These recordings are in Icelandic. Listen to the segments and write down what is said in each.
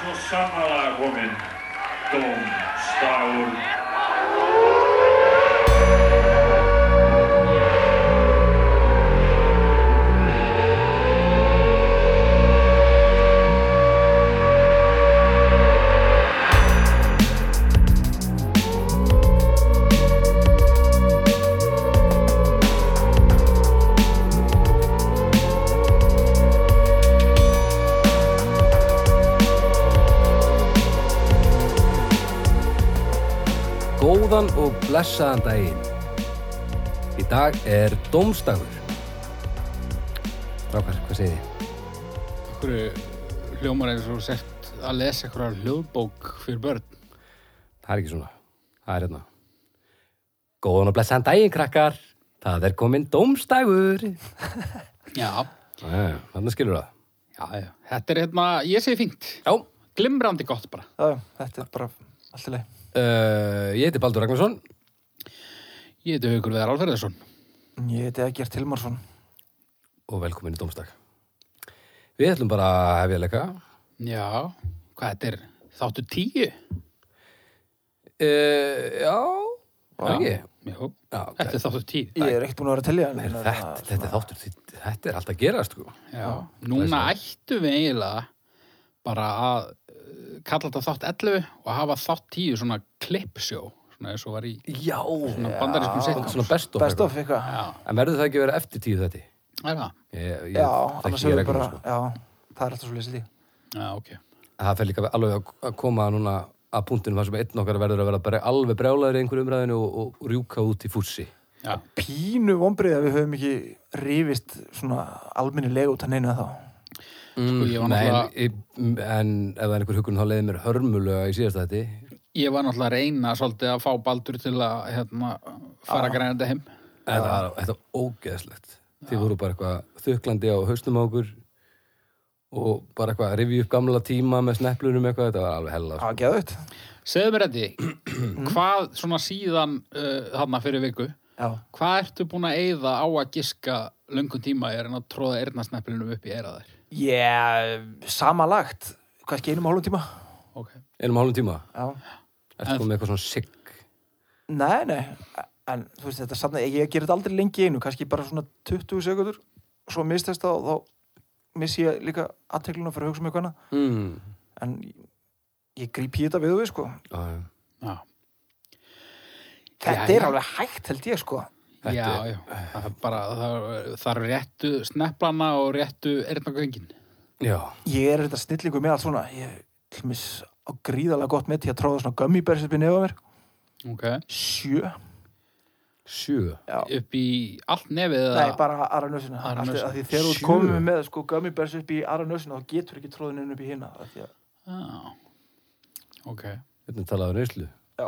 svo sannarlega kominn Dómstagur. Góðan og blessaðan daginn. Í dag er dómstagur. Rákar, hvað segir þið? Hverju hljómar eins og sett að lesa einhverja hljóðbók fyrir börn? Það er ekki svona. Það er hérna. Góðan og blessaðan daginn, krakkar. Það er kominn dómstagur. Já. Þannig skilur það. Já, já. Þetta er hérna, ég segi fínt. Já, Glimrandi gott bara. Já, já, þetta er bara allt í leið. uh, ég heiti Baldur Ragnarsson. Ég heiti Haukur Veðar Alferðarsson. Ég heiti Egert Hilmarsson. og velkomin í Dómstag. Við ætlum bara að hefja leika. Já. Hvað þetta er? Þáttu tíu? Uh, já, já, ekki. Jú. Já, Þetta er þáttu tíu. Ég er ekkert búin að vera til í hann. hérna. Þetta, þetta, þetta, er þáttur, þitt- þetta er alltaf að gerast, sko. Já. Núna ættum við eiginlega bara að eh, kalla þetta þátt 11 og hafa þátt tíu svona klippsjó. Svona eins og var í Já. Svona, svona bandarískum sitcom. svona best of. Best of eitthvað. Já. En verður það ekki verið eftir tíu þetta? Er það? Ég, ég, Já, þekki annars ég hefur við regluna, bara, sko. já, það er alltaf svo leysið í. Já, ok. Það fer líka alveg að- að koma núna að punktinu þar sem einn okkar verður að vera bara alveg brjálaður í einhverju umræðinu og, og rjúka út í fússi. Já. Pínu vombrið að við höfum ekki rífist svona alminnilega út að neina þá. Mm, Sko, ég var náttúrulega- en, en ef það er einhver hugun þá leiði mér hörmulega í síðasta þetta. Ég var náttúrulega að reyna svolítið að fá Baldur til að hérna, fara að græna þetta heim. Þetta var, þetta var ógeðslegt. Þið voru bara eitthvað þuklandi á haustum á okkur og bara eitthvað að rifja upp gamla tíma með snepplunum eitthvað. Þetta var alveg hella. sko. Já, geðaut. Segðu mér þetta, hvað svona síðan uh, þarna fyrir viku, Já. hvað ertu búin að eyða á að giska löngum tíma er en að tróða erðnarsnepplinum upp í eira þær? Ég, samalagt, kannski einum og hálfum tíma. Okay. Einum og hálfum tíma. Já. Ertu komið með eitthvað svona sigg. Nei, nei, en þú veist þetta samt, ég gerir þetta aldrei lengi í einu, kannski bara svona 20 sekundur, svo mistast það og þá missi ég líka aðtekluna fyrir að hugsa um eitthvað annað. Mm. en ég, ég gríp í þetta við og við sko Já, já. Já, þetta Já, er já. alveg hægt held ég sko Þetta já, er- já. Það er bara, það- það eru réttu snepplana og réttu erðnargöngin. Já. ég er þetta snillingu með allt svona ég til mis á gríðalega gott með til að tróða svona gummibærsirpi nefða mér Ok, sjö, Sjö. já, upp í allt nefið eða? nei bara aðra nösina Aðra Allt- nösina. af því þegar Sjö? þú komum með sko gummibærsirpi í aðra nösina þá getur ekki tróðin inn upp í hina af því að- Já, ok. Þetta talaður um reynslu. já.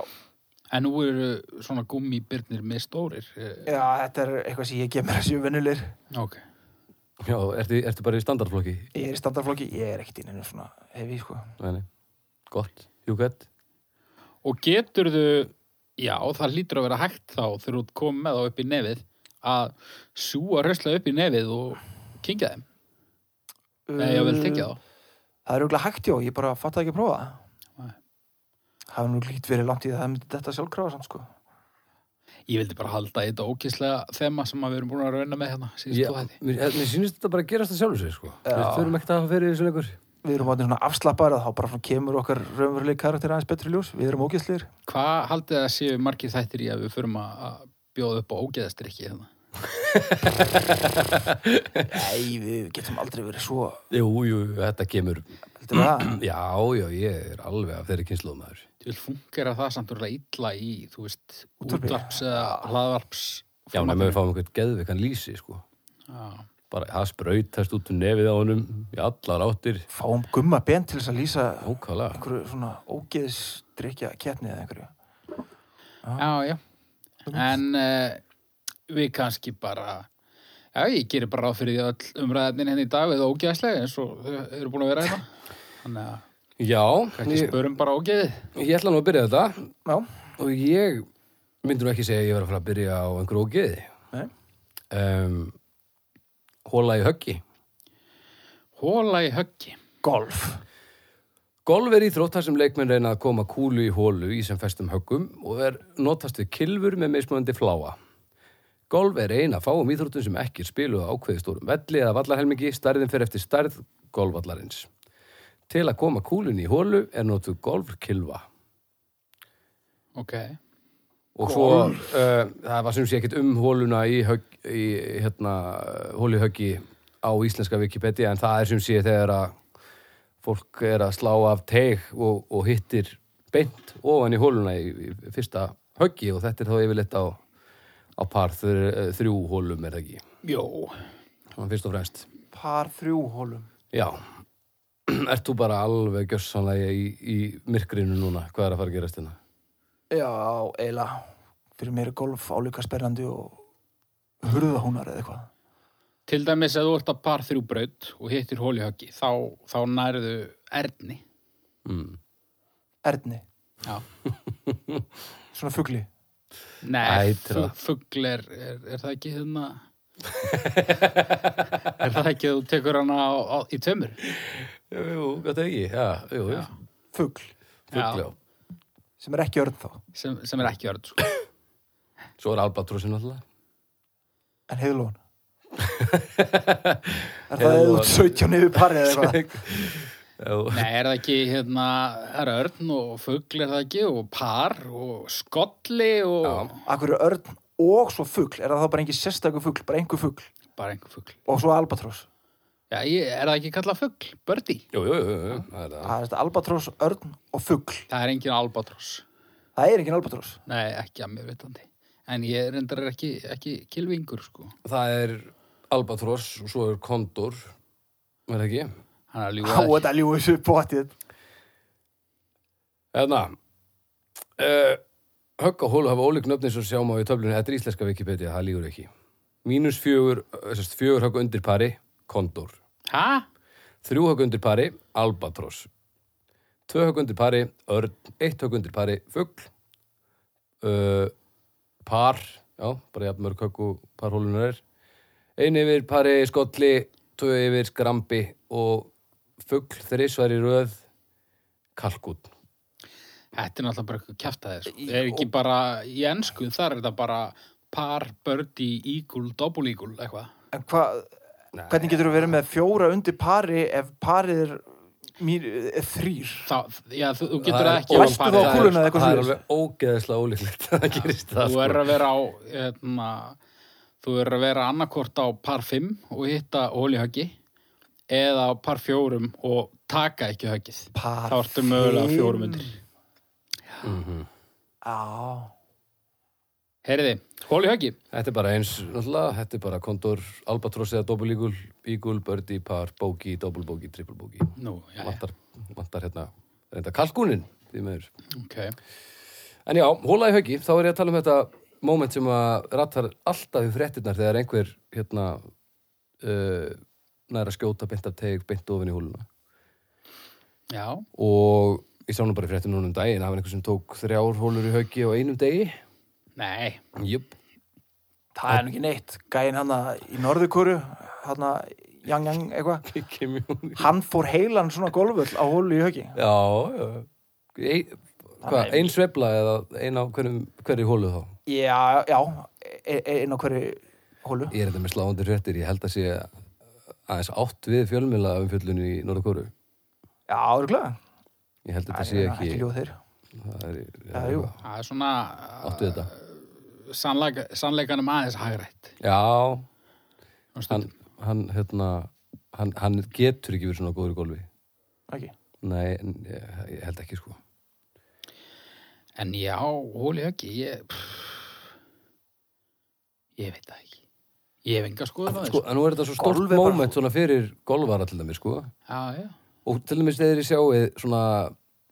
En nú eru svona gummibirnir með stórir. já, þetta er eitthvað sem ég gef mér að séu vennulir Ok. Já, ertu, ertu bara í standardflokki? ég er í standarflokki, ég er ekkert inn einu svona hefi sko Nei, nei. Gott. Hjúkett. Og geturðu, já, það hlýtur að vera hægt þá þegar þú ert komið með þá upp í nefið að sjúa rösla upp í nefið og kynkja þeim. Nei, ég vil tekja þá. Um, það er auðvitað hægt já, ég bara fatt ekki að prófa það Nei. Það er nú lít verið langt í það, það myndi þetta sjálfkrafa samt sko. Ég vildi bara halda í þetta ókýrslega þema sem að við erum búin að rauna með hérna síðan Já, þú hætti. mér, eh, mér sýnist þetta bara að gerast það sjálfur sér, sko. Já. Við þurfum ekkert að fyrir þessu leikur. Við erum átni svona afslappaðir að þá bara svona kemur okkar raunveruleg karakter aðeins betri í ljós. Við erum ógæslir. Hvað haldið að séu margir þættir í að við förum að að bjóða upp á ógeðastrykki hérna? Nei, við getum aldrei verið svo. Jú, jú, þetta kemur. Heldur það? Já, já, ég er alveg af þeirri kynsluðum Þú vil fungera það samt úrlega illa í, þú veist, Útvarpi. útvarps eða hlaðvarps. Já, nema við fáum einhvern geðveikan lýsi, sko. Já. Bara, það sprautast út um nefið á honum í allar áttir. Fáum gumma ben til þess að lýsa Ókvæðlega. einhverju svona ógeðsdrykja keppni eða einhverju. Já, já. En uh, við kannski bara, já, ég gerir bara ráð fyrir því að öll umræðin henni í dag við ógeðslega eins og þau eru búin að vera hérna. Þannig að Já, kannski ég, spörum bara ógeðið. ég ætla nú að byrja þetta Já, og ég myndur ekki segja að ég var að fara að byrja á einhverju ógeði. nei. Um, hóla í höggi. Hóla í höggi. Golf. Golf er íþrótt þar sem leikmenn reyna að koma kúlu í hólu í sem festum höggum og er notast við kilfur með mismunandi fláa. Golf er eina fáum íþróttum sem ekki er spiluð á ákveði stórum velli eða vallarhelmingi, stærðin fer eftir stærð golfvallarins. Til að koma kúlunni í hólu er notuð golfkilfa. ok. Og svo, uh, það var sem sé ekkit um hóluna í, högg, í hérna, hóluhöggi á íslenska Wikipedia, en það er sem sé þegar að fólk er að slá af teg og, og hittir beint ofan í hóluna í, í fyrsta höggi og þetta er þá yfirleitt á, á par þr, eh, þrjú hólum er það ekki. Jó. Svona fyrst og fremst. Par þrjú hólum. Já. Ert þú bara alveg gjössanlega í, í myrkrinu núna? Hvað er að fara að gerast hérna? Já, eiginlega. Fyrir mér er golf álíka sperrandi og hurðahúnar eða eitthvað. Til dæmis að þú ert að par þrjú braut og hittir hól í höggi, þá, þá nærðu erni. Mm. Erni, Já. svona fugli. Nei, Ætra. fuggl er, er, er það ekki hérna... er það ekki að þú tekur hana á, á, í tömur? Jú, gott ef ekki. Já, jú, jú. Fugl, Fugl, já. sem er ekki örn þá. Sem, sem er ekki örn, sko. Svo er albatrossin alltaf. En heiðlóðan. er það Heiðlóan. eða út 17 yfir parið eða eitthvað? Já, Nei, er það ekki hérna, það er örn og fuggl er það ekki og par og skolli og Já. Akkur er örn og svo fugl, er það þá bara engin sérstakur fugl, bara einhver fugl bara einhver fuggl. og svo albatross. Já, ég, er það ekki kallað fuggl? Bördi? jú, jú, jú, jú, það er það. Það er þetta albatross, örn og fugl. Það er engin albatross. Það er engin albatross. Nei, ekki að mér vitandi. En ég reyndar ekki, ekki kilvingur, sko. Það er albatross og svo er kondor, er það ekki? Hann er að Há, ljúga það ekki. þetta ljúið svo bóttið. Hérna, uh, högg og hólu hafa ólík nöfni sem sjá má í töflunni, þetta er íslenska Wikipedia, það lígur ekki. Mínus fjögur, eh, sérst, fjögur högg undir pari, kondor. Hæ? Þrjú högg undir pari, albatross. Tvö högg undir pari, örn. Eitt högg undir pari, fugl. Uh, par, já, bara jafn mörg högg og parhólunar er. Einu yfir pari skolli, tvö yfir skrambi og fugl þrisvar í röð, kalkút. Þetta er náttúrulega bara eitthvað kjaftaðið, sko. Það er ekki bara í ennsku, þar er þetta bara par, bördi, ígul, dobbulígul, eitthvað. En hvað, hvernig getur þú verið með fjóra undir pari ef parið er, mýr, er þrýr? Þá, já, þú, þú getur Það er ekki ó- Læstu parið þá á það er- kúluna eða eitthvað Það er svoleiðis? alveg ógeðslega ólíklegt að það gerist það. sko. Þú er að vera á, hérna, þú er að vera annarkort á par 5 og hitta ólihöggi eða á par 4 og taka ekki höggið. Par Þá ertu mögulega fimm. fjórum undir. Já. Heyriði, ólihöggi, Þetta er bara eins, náttúrulega, þetta er bara kontor, albatross eða dobbulígul, ígul, bördi, par, bóki, dobbulbóki, trippulbóki. nú, já, já, Vantar, vantar hérna, reynda kalkúnin, því meður. ok. En já, hóla í höggi, þá er ég að tala um þetta moment sem að rattar alltaf í fréttinnar þegar einhver, hérna, uh, næra skjóta beint af teg, beint ofin í hóluna. Já, Og ég sá nú bara í fréttinnar núna um daginn, það var einhver sem tók þrjár hólur í höggi á einum degi. nei, Jöp. Það er nú ekki neitt. Gæinn hann í norðukuru, hann að Yang Yang eitthvað, Ekki mjög. hann fór heilan svona golfull á hólu í höggi. Já, já. Ei, hvað, ein sveifla eða ein á hverjum, hverju hólu þá? Já, já, e- e- einn á hverju hólu. Ég er þetta með sláandi hrettir, ég held að sé aðeins átt við fjölmjöla um fjöllunni í Norðakóru. Já, örgulega. Ég held að þetta sé Ekki ekki... ljóð þeir. Það er, Já, jú. það er svona uh, Áttu þetta? sannleika, sannleikanum aðeins hagrætt. Já, Nú hann, stundum. hann, hérna, hann, hann getur ekki verið svona góður í golfi. Ekki. Nei, en ég, ég held ekki sko. En já, ólihöggi, ég, pff, ég veit það ekki. Ég hef enga skoðum að Sko, en nú er þetta svo Golf stórt er bara- moment svona fyrir golfara til dæmis sko. Já, já. og til dæmis þegar ég sjáið svona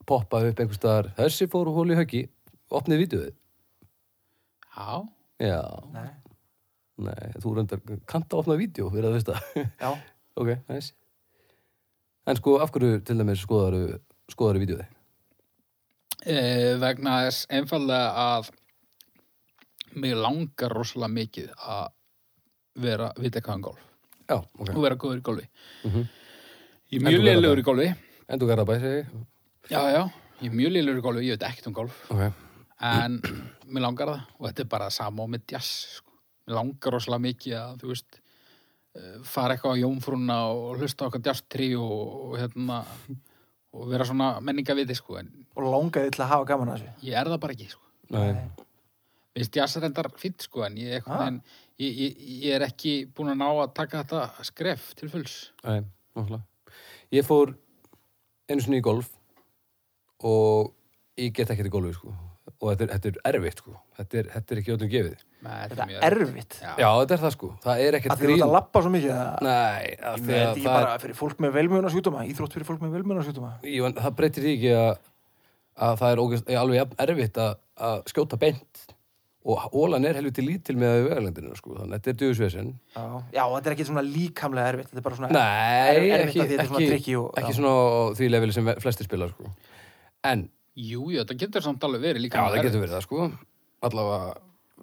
poppa upp einhvers staðar þessi fóru hóli í höggi, opnið vídeoið Já, já, Nei. nei, þú reyndar kannt að opna vídeo fyrir að veist það Já. ok, næs en sko, af hverju til dæmis skoðaru skoðaru vídeoið? e, vegna þess einfallega að mig langar rosalega mikið að vera, vita hvað um golf já, ok, og vera góður í golfi. Mhm. Ég er En mjög þú verður leilugur í golfi. endur garabæ segi ég Já, já, ég er mjög lillur í golfi, ég veit ekkert um golf Ok. en mér langar það og þetta er bara sama og með jazz sko. mér langar rosalega mikið að þú veist eh, fara eitthvað á jómfrúna og hlusta á okkar jazz trí og, og hérna og vera svona menningaviti sko en og langaði til að hafa gaman að þessu ég er það bara ekki sko Nei. minnst jazz er endar fint sko en ég, ah. Ah. en ég, ég, ég er ekki búin að ná að taka þetta skref til fulls Nei, náttúrulega. Ég fór einu sinni í golf og ég get ekkert í golfi, sko. Og þetta er, þetta er erfitt, sko. Þetta er, þetta er ekki öllum gefið. Nei, þetta mjög er erfitt Já. Já, þetta er það, sko. Það er að ekkert því þú ert að grín. lappa svo mikið að Nei, af Nei, því þetta er að ekki það, bara fyrir fólk með velmjöðunarsjúdóma íþrótt fyrir fólk með velmjöðunarsjúdóma er, jú, en það breytir því ekki að, að það er ógeðs, alveg jafn erfitt að, að skjóta beint og ólan er helviti lítil með að vegalendinu, sko. Þannig að þetta er döðsvesen. já. já, þetta er ekki svona líkamlega erfitt þetta er bara svona Nei, erfitt að ekki, því þetta er svona ekki, tricky og- ekki já. svona á því leveli sem flestir spila, sko. En Jú, jú, þetta getur samt alveg verið líka Já, það erfitt. getur verið það sko allavega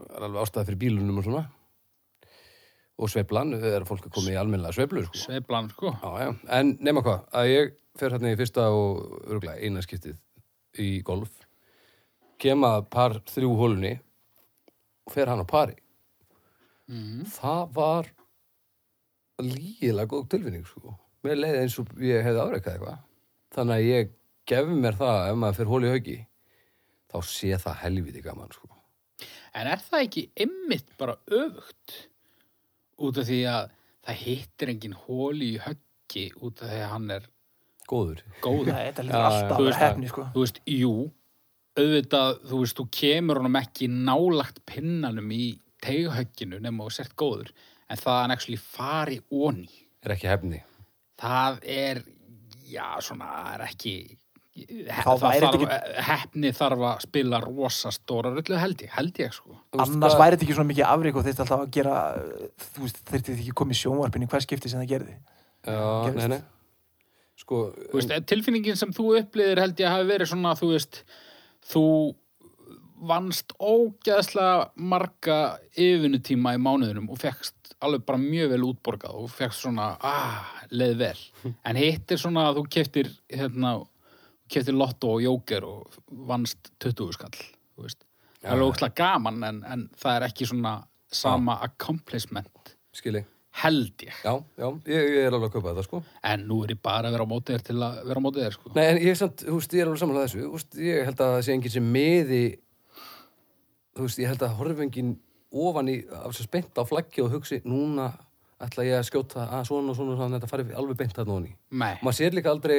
er alveg ástæða fyrir bílunum og svona og sveiflan, þegar fólk er komið í almennlega sveiflu sko. Sveiflan, sko já, já. en nema hvað, að ég fer hérna í fyrsta og örgulega eina skiptið í golf kem að par þrjú hólunni og fer hann á pari mm. það var lígilega góð tilfinning sko. mér leiði eins og ég hefði afreikað eitthvað þannig að ég gef mér það ef maður fer hóli í hauki þá sé það helviti gaman sko. En er það ekki einmitt bara öfugt út af því að það hittir engin hóli í höggi út af því að hann er góður góður. Nei, þetta Já, lítur alltaf þú að vera veist það. hefni sko. Þú veist, jú, auðvitað, þú veist, þú kemur honum ekki nálagt pinnanum í teighögginu nema þú sért góður, en það að hann actually fari onni, er ekki hefni það er, já, svona, það er ekki... He, Þá væri þetta þarf, hefni þarf að spila rosa stóra rullu held ég, held ég sko annars væri þetta ekki svona mikið afrik og þeirst alltaf að gera uh, þú veist, þeirst ekki komið sjónvarpinni hver skipti sem það gerði já, gerist. nei, nei. sko Þú veist, tilfinningin sem þú upplýðir held ég hafi verið svona, þú veist, þú vannst ógeðslega marga yfinutíma í mánuðinum og fekkst alveg bara mjög vel útborgað og fekkst svona, ah, leið vel. En hitt er svona að þú keftir, hérna, keftir lotto og jóker og vannst 20 skall, þú veist. Það er ógeðslega gaman en, en það er ekki svona sama accomplishment, skili, held ég. já, já ég, ég er alveg að kaupa þetta sko En nú er ég bara að vera á mótið þér til að vera á mótið þér, sko. nei, en ég, er samt, húst, ég er alveg samanlega þessu húst, ég held að það sé enginn sem miði þú veist, ég held að horfengin ofan í, af þess að spennt á flaggi og hugsi, núna ætla ég að skjóta að svona og svona, og svona þetta farið alveg beint þarna ofan í Nei. maður sér líka aldrei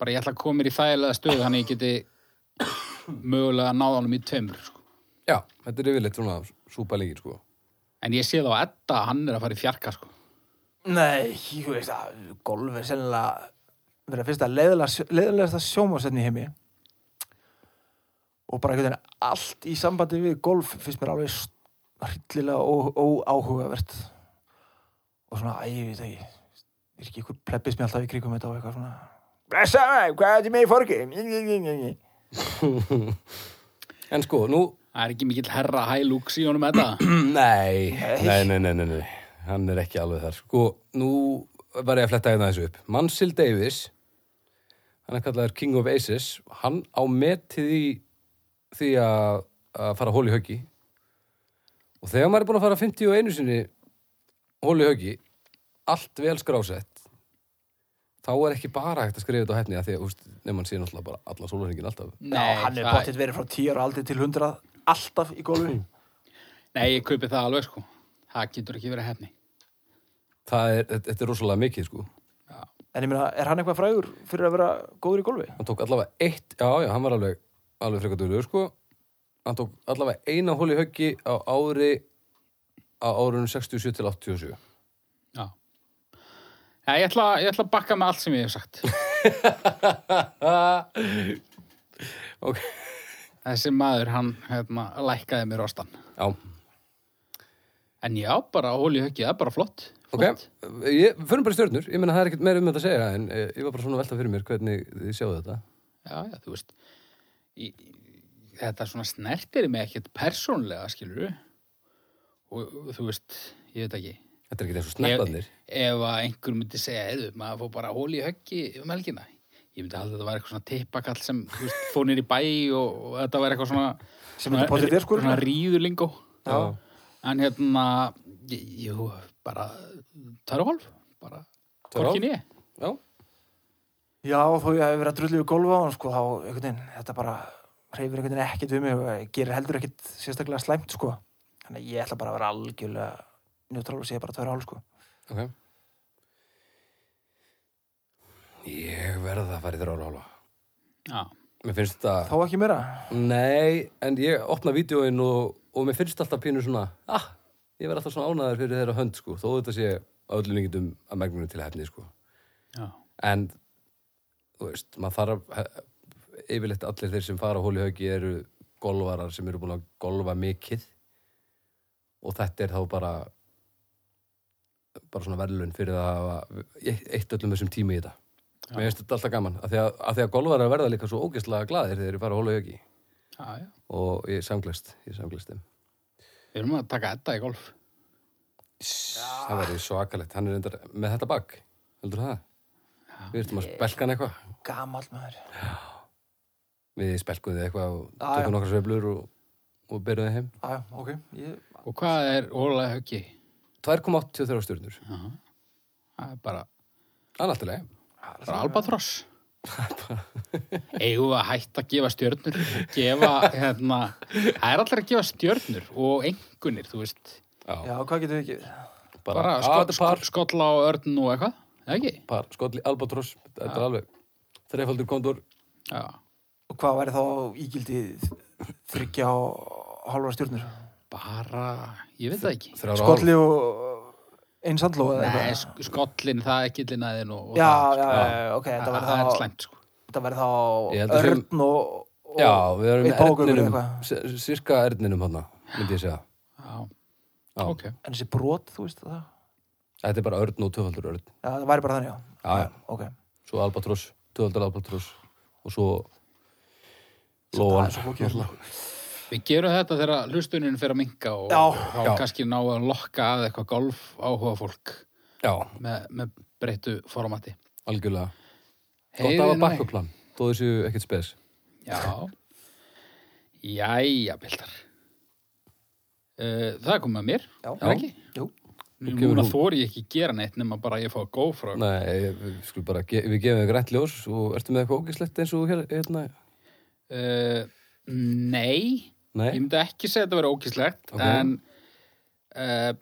bara ég ætla að koma mér í þægilega stöðu þannig ég geti mögulega að náða honum í tveimur sko. já, þetta er yfirleitt svona súpalegir sko en ég sé þá að Edda, hann er að fara í fjarka sko. nei, þú veist að golf er sennilega verið að fyrsta leiðilegasta sjónvarsetni heimi og bara einhvern veginn allt í sambandi við golf finnst mér alveg hryllilega ó- óáhugavert og svona, æ, ég veit ekki er ekki ykkur plebbis mér alltaf í krigum þetta og eitthvað svona blessa mig, hvað er þetta með í forgi? en sko, nú, það er ekki mikill herra hælúks í honum Edda Nei, nei, nei, nei, nei, nei. hann er ekki alveg þar. Sko, nú var ég að fletta hérna þessu upp. Mansil Davis, hann er kallaður King of Aces, hann á metið í því að, að fara hól í höggi. Og þegar maður er búin að fara 51 sinni hól í höggi, allt vel skrásett, þá er ekki bara hægt að skrifa þetta á hefni að því að, úst, nefnum hann sé náttúrulega bara allan sólarhengin alltaf. Já, hann er það- bóttið verið frá 10 ára aldrei til 100 alltaf í golfi nei, ég kaupi það alveg sko. það getur ekki verið hefni Það er, þetta þetta er rosalega mikið, sko. En ég meina, er hann eitthvað frægur fyrir að vera góður í golfi? hann tók allavega eitt, já, já, hann var alveg alveg frekar duglegur, sko hann tók allavega eina hól í höggi á ári á árunum 67 til 87 já. Já, ég, ætla, ég ætla að bakka með allt sem ég hef sagt ok, þessi maður, hann hérna, lækkaði mér rostan já, en já, bara hóli höggi, það er bara flott, ok flott. ég, fyrir bara í stjörnur, ég meina það er ekkert meira um þetta að segja en eh, ég var bara svona að velta fyrir mér hvernig þið sjáðu þetta já, já, þú veist í, í- þetta svona snertir mig ekkert persónlega, skilur og og þú veist, ég veit ekki þetta er ekkert eins og snepparnir ef að einhver myndi segja, heiðu, maður fór bara hól í höggi um helgina ég myndi halda að þetta var eitthvað svona tippakall sem þú veist, fór nýr í bæ og, og þetta var eitthvað svona, Sem myndi pottet er, sko, svona ríðulingó Já. en hérna, ég- jú, bara tæru hálf, bara Tvær og hálf? hvorki nýja Já, Já, þó ég hef verið að drullu við golfa á hann, sko, þá einhvern veginn, þetta bara hreyfir einhvern veginn ekkert við mig og ég gerir heldur ekkert sérstaklega slæmt, sko. Þannig að ég ætla bara að vera algjörlega njútrál og segja bara tverja hálf, sko. ok Ég verð að fara í þrjára hálfa Já, Mér finnst þetta, Þá ekki meira. nei, en ég opna vídjóin og, og mér finnst alltaf pínu svona ah, ég verð alltaf svona ánæður fyrir þeirra hönd sko, þó þetta sé öllum yngitum að megninu til hefni sko. já, en þú veist, maður þarf að- yfirleitt allir þeir sem fara á hóli hauki eru golvarar sem eru búin að golva mikið og þetta er þá bara bara svona verðlun fyrir það að hafa eitt öllum þessum tíma í þetta mér finnst þetta alltaf gaman, af því að, af því að golvarar verða líka svo ógeðslega glaðir þegar þeir fara á hóli hauki já, já og ég samglist, ég samglist þeim Við erum að taka þetta í golf það verður svakalegt, hann er endar með þetta bak, heldur það við ertum að spelka hann eitthvað Gamal maður. við spelkum þið eitthvað og Já, já. tökum nokkra sveiflur og, og byrjuðum heim Já, já, ok. Ég, Og hvað er ólega höggi? 2,83 stjórnur Það er bara, annartilega, bara albatross Eigum við að hætta að gefa stjörnur gefa, hérna það er allir að gefa stjörnur og engunir, þú veist já, hvað getum við ekki? bara, bara skot, skot, skot, skolla á örn og eitthvað eða ekki? par, skotli albatross þetta er alveg þreifaldur kondur Já, Og hvað væri þá ígildið þryggja og hálfa stjórnur? bara, ég veit það ekki Skolli og einn sandló eða Nei, eitthvað? sk- skollin, það ekki linnaðin og, og Já, það, já, sko. já, já, ok, það, þetta það, er væri þá, slæmt sko. þetta væri Ég held þá að séum- örn og, og já, við erum eitt páfagaukur eða erninum eitthvað. s- sirka erninum hann myndi ég segja já, Já. ok En þessi brot, þú veist það? þetta er bara örn og tvöfaldur örn Já, það væri bara þannig, já. já, já. Ok. svo albatross, tvöfaldur albatross og svo Það lóan er svo flókið. Við gerum þetta þegar hlustunin fer að minka og Já. þá Já. kannski ná að lokka að eitthvað golf áhuga fólk já, með, með breyttu formati. algjörlega gott að Heiðin hafa bakkuplan, þó þessu ekkert spes Já. Jæja, Bildar. Uh, það er komið að mér, Já. er ekki? Jú. Þú kemur Núna hún. þóri ég ekki að gera neitt nema bara að ég fá að góð frá. Nei, ég- við skulum bara, ge við gefum þig grænt ljós og ertu með eitthvað ógislegt eins og hér, hérna Uh, nei, ég Nei, myndi ekki segja þetta verið ókíslegt, Ok. en uh,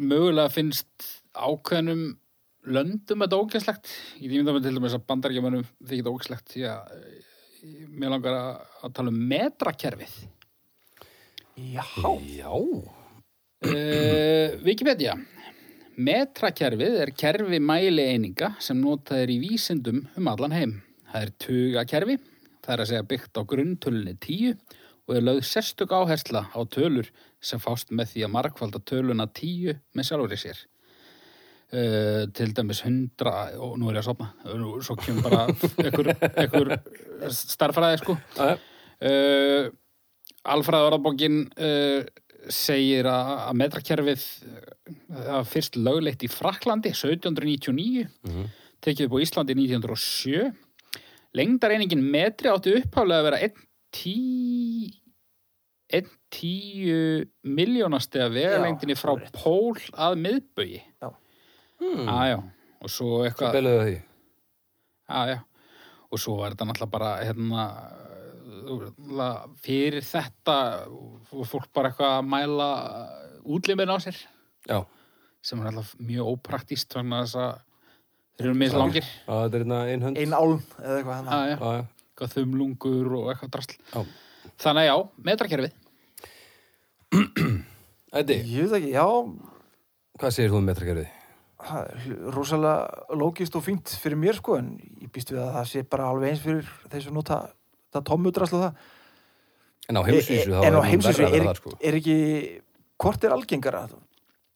mögulega finnst ákveðnum löndum þetta ókíslegt. Ég myndi að til dæmis að bandaríkjumönum þykir þetta ókíslegt því að eh, mér langar að, að tala um metrakerfið. Já. já Uh, Wikipedia Metrakerfið er kerfi mælieininga sem notað er í vísindum um allan heim. Það er tugakerfi, það er að segja byggt á grunntölunni 10 og er lögð sérstök áhersla á tölur sem fást með því að markvalda töluna 10 með sjálfur í sér. Uh, til dæmis 100 og nú er ég að sopna, Nú- svo kemur bara einhver, einhver starfræði sko. Æ, Uh, Alfræð orðabókin uh, segir að, að metrakerfið uh, fyrst lögleitt í Fraklandi 1799, Mhm. tekið upp á Íslandi 1907. Lengdareiningin metri átti upphálega að vera 1 tí, einn tíu miljónasti að vega lengdinni frá það er rétt. pól að miðbögi. Já. Mm. Hmm. Ah, já. Og svo eitthvað... ah, Belaðu því Já, já. Og svo var þetta náttúrulega bara, hérna, náttúrulega fyrir þetta og fólk bara eitthvað að mæla útlimin á sér, Já, sem er alltaf mjög ópraktíst þannig að þess að þeir eru mjög langir. á, þetta er hérna einhönd Einn álm eða eitthvað Já, hann. já, Já, já. eitthvað þumlungur og eitthvað drasl. Já. Þannig að já, metrakerfið. Æddi, Ég veit ekki, já, hvað segir þú um metrakerfið? það er hl- rosalega lókist og fínt fyrir mér, sko, en ég býst við að það sé bara alveg eins fyrir þeir sem nota það tommudraslu það. E, En á heimsvísu þá en á hún heimsvísu verra að er, vera þar, sko. er ekki, hvort er algengara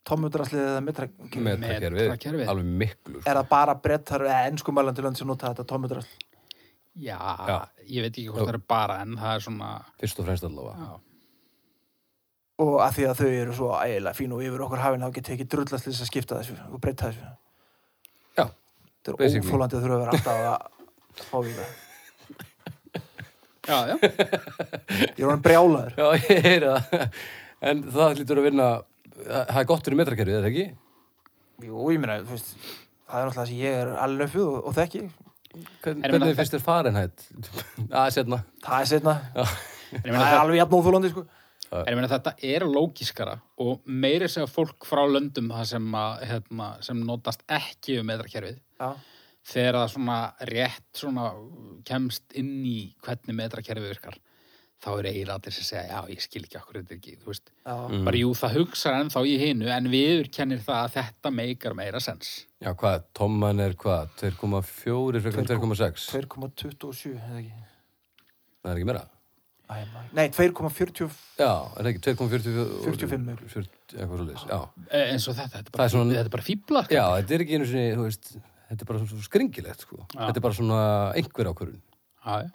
tommudraslu eða metra... Metrakerfið, Metrakerfið. alveg miklu sko. Er það bara brettar eða ennskumælandi lönd sem nota þetta tommudrasl? Já, Já. ég veit ekki hvort það er bara en það er svona, Fyrst og fremst allavega já, Og að því að þau eru svo ægilega fín og yfir okkur hafin þá getur ekki drullast til þess að skipta þessu og breyta þessu. Já, Þetta er Basically. óþólandi að þurfa að vera alltaf að spáði í það já, já, ég er hann brjálaður Já, ég heyra það. En það lítur að vinna, það það er gott fyrir metrakerfið, er það ekki? jú, ég meina, þú veist það er náttúrulega það sem ég er alveg uppið og, og þekki Hvern, En ég meina, hvernig finnst þér Fahrenheit? hérna. Að, setna. það er setna, en ég það meina er það alveg jafn óþólandi sko. En ég meina þetta er lógiskara og meiri segja fólk frá löndum það sem, að, hérna, sem notast ekki um metrakerfið já, þegar það svona rétt svona kemst inn í hvernig metrakerfið virkar þá er eiginlega allir sem segja já ég skil ekki okkur þetta ekki þú veist já, Mm. bara jú það hugsar ennþá í hinu en viður kennir það að þetta meikar meira sens Já, hvað, Tomman er hvað, 2,4 frekar en 2,6? 2,27 eða ekki Það er ekki meira? Æ, maður- nei, 2,40 Já, er það ekki 2,45? 45 mögulega. 40 Eitthvað svo já. e, eins og þetta, þetta er Það er bara, svona- svona... bara sko. fíbla Já, þetta er ekki einu sinni, þú veist, þetta er bara svona skringilegt, sko. Þetta er bara svona einhver ákvörun. já, já.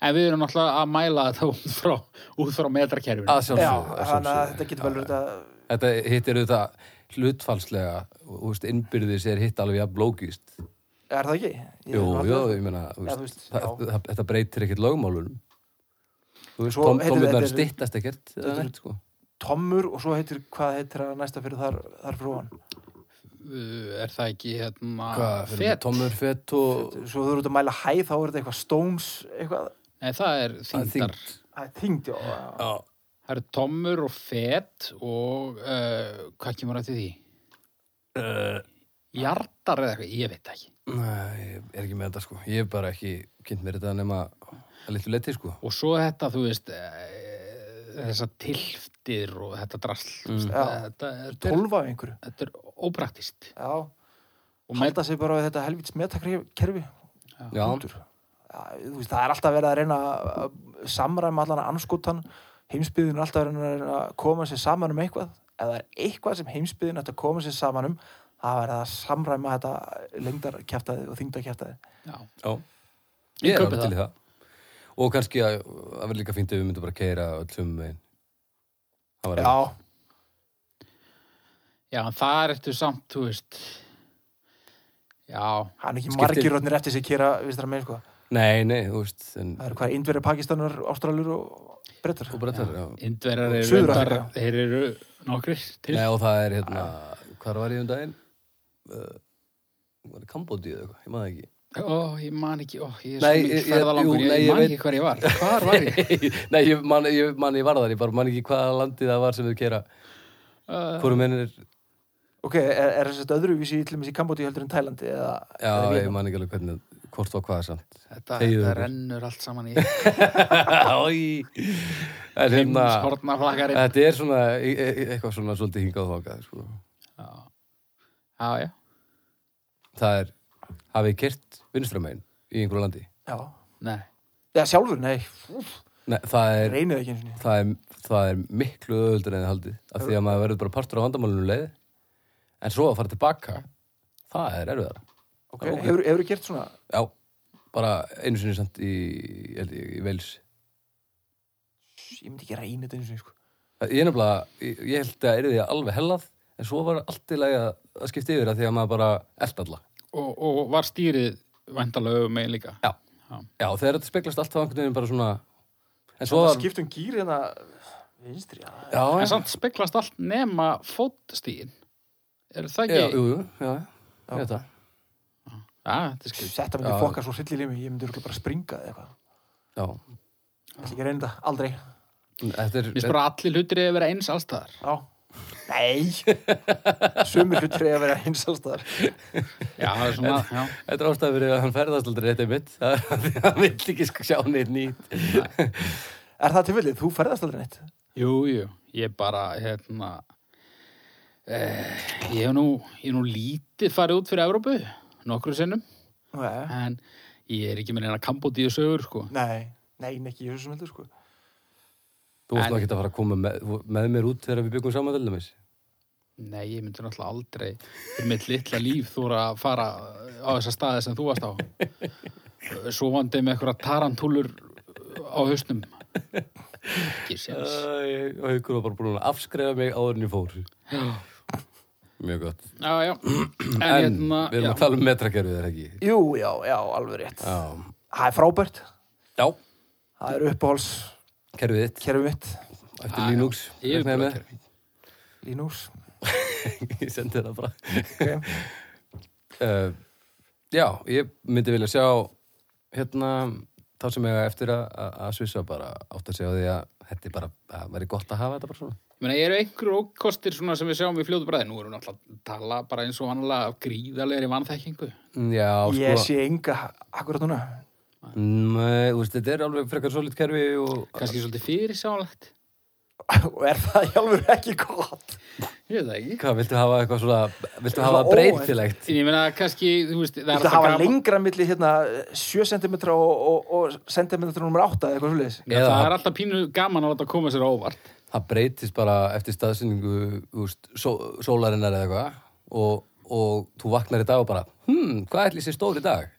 en við erum náttúrulega að mæla þetta út frá, út frá metrakerfinu Að já, sjálfsögðu, að þannig að sjálfsögðu. þetta getur vel verið að Þetta hitt er auðvitað hlutfalslega, þú veist, innbyrðis er hitt alveg að blókist. er það ekki? Ég Jú, hef aldrei- jú, ég meina, þú Já, veist, þú veist, það, já. það, þetta breytir ekkert lögmálunum. Þú veist, Svo tóm, heitir tómirnar þetta- styttast ekkert, eða þetta er- neitt, sko. tommur og svo heitir, hvað heitir það næsta fyrir þar, þar frá hann Uh, er það ekki hérna Hvað, fyrir fet? með tómur, fett og svo þú eru út að mæla hæð, þá er þetta eitthvað stones eitthvað, Nei, það er að þyngdar. þyngd. það er þyngd já, já. Já, Það eru tommur og fet og uh, hvað kemur að til því? E. Hjartar eða eitthvað, ég veit það ekki. Nei, ég er ekki með þetta sko. Ég hef bara ekki kynnt mér þetta nema að litu leti sko. Og svo þetta, þú veist, uh, þessa tilftir og þetta drasl. Mm. Þetta, Já. þetta, þetta, er, 12 af einhverju þetta er ópraktist. já, Og með, halda sig bara við þetta helvits metakerfi Já, punktur. Já, þú veist, það er alltaf verið að reyna að samræma allan að anskotan heimsbyðin er alltaf að reyna að reyna að koma sér saman um eitthvað ef það er eitthvað sem heimsbyðin ætti að koma sér saman um það verið að samræma þetta lengdarkjæftaði og þyngdarkjæftaði já, já. Ég er kaupi alveg það. til í það. Og kannski að það verður líka fínt ef við myndum bara keira öllum megin. Það var já, já, en það er eftir samt, þú veist, já, hann er ekki Skiptir- margir rótnir eftir sér kera vistra með sko. Nei, nei, þú veist. En, það eru hvað indverið pakistanur, ástralur og brettur og bara það, já. indverjar eru, Suður-Afríka. reyndar- þeir eru nokkrir til. Nei, og það er hérna, Ah. hvað var ég um daginn? Uh, var það Kambodíu eða eitthvað? Ég maður ekki. Ó, ég man ekki, ó, ég er Nei, svo mikið ég- ferðalangur, jú, ég, nei, ég man veit- ekki hvar ég var. Hvar var ég? nei, ég man, ég man, ég var þar, ég bara man ekki hvaða landið það var sem við keira. Uh, Hvorum henni er, ok, er, er þess að öðruvísi í tlumis í Kambodíu heldur en Tælandi eða, já, eða hérna. ég Víetnam? man ekki alveg hvernig, hvort var hvað samt. þetta, Þegiðu þetta ykkur. rennur allt saman í Hérna- Æ, en hérna heimshornaflakarinn. þetta er svona e- e- eitthvað svona svolítið hingað og þangað sko. Já, já, já. það er, hafið kert vinstramæn í einhverju landi já, Nei. eða sjálfur, nei úff, Nei, það, er, reynið ekki eins og það, er, það er miklu öðuldur en þið haldið af því að maður verður bara partur á vandamálunum leið en svo að fara tilbaka það er erfiðara ok, hefur, hefur gert svona já, bara einu sinni samt í, ég held ég, í veils ég myndi ekki reyna þetta eins og sko. ég er nefnilega, ég, ég held að erði alveg hellað en svo var allt í lagi að að skipta yfir að því að maður bara eldalla Og, og var stýrið væntalega um mig líka. Já, Já. já þegar þetta speglast alltaf einhvern veginn bara svona En svo það var, skiptum gýr hérna vinstri, já, já, En samt speklast allt nema fótstýrin. Er það já, ekki? jú, jú, já, já. þetta Já, þetta er skrið. þetta myndi Já. fokka svo hryllir í mig ég myndi örugglega bara springa eða eitthvað Já, ég ætla ekki að reyna þetta, aldrei þetta er Mér finnst bara allir hlutir eða vera eins allstaðar. já, nei sumir hlutur er að vera eins allstaðar Já, það er svona, já. Þetta er ástæður fyrir að hann ferðast aldrei þetta er mitt Það er af því að hann vill ekki sk- sjá neitt nýtt er það tilfellið, þú ferðast aldrei neitt Jú, jú, ég bara, hérna, eh, ég hef nú, ég hef nú lítið farið út fyrir Evrópu, nokkru sinnum, nei, en ég er ekki með neina Kambodíu sögur, sko. nei, nein ekki, ég sem heldur sko Þú varst En- nú ekki að fara að koma með, með mér út þegar við byggum saman til dæmis Nei, ég myndi náttúrulega aldrei, fyrir mitt litla líf, þú voru að fara á þessa staði sem þú varst á. Svo vandið með einhverja tarantúlur á hausnum. Ekki séns. Æ, Og haukur var bara búin að afskrefa mig áður en ég fór Já. mjög gott já, já. En, En hérna, við erum já. að tala um metrakerfið, er það ekki? Jú, já, já, alveg rétt Já, Það er frábært, já það er uppáhals kerfið þitt, kerfi mitt, eftir Já, já. um Linux Ég er reiknaði bara með. kerfi. Linux Ég sendi það bara okay. uh, Já, ég myndi vilja sjá hérna þá sem ég eftir að, að- að svissa bara átt að segja því að þetta er bara að væri gott að hafa þetta bara svona Ég meina, eru einhverjum ókostir svona sem við sjáum í fljótu bræði? Nú erum við náttúrulega að tala bara eins og annarlega af gríðarlegri vannþekkingu. Mm, Já, sko Ég sé enga akkurat núna Nei, þú veist, þetta er alveg frekar solid kerfi og Kannski svolítið fyrirsánlegt. og er það í alveg ekki gott Ég veit það ekki. hvað, viltu hafa eitthvað svona viltu Svona hafa óvænt. breytilegt En ég meina, kannski, þú veist, það er Þetta hafa gaman- lengra milli hérna 7 cm og, og, og cm nr. 8 eða eitthvað svolítið Ég meina, Eða- Það er alltaf pínu gaman að láta koma sér á óvart. það breytist bara eftir staðsynningu úst, só, sólarinnar eða eitthvað og, og þú vaknar í dag og bara hmm, hvað ætli sér stór í dag?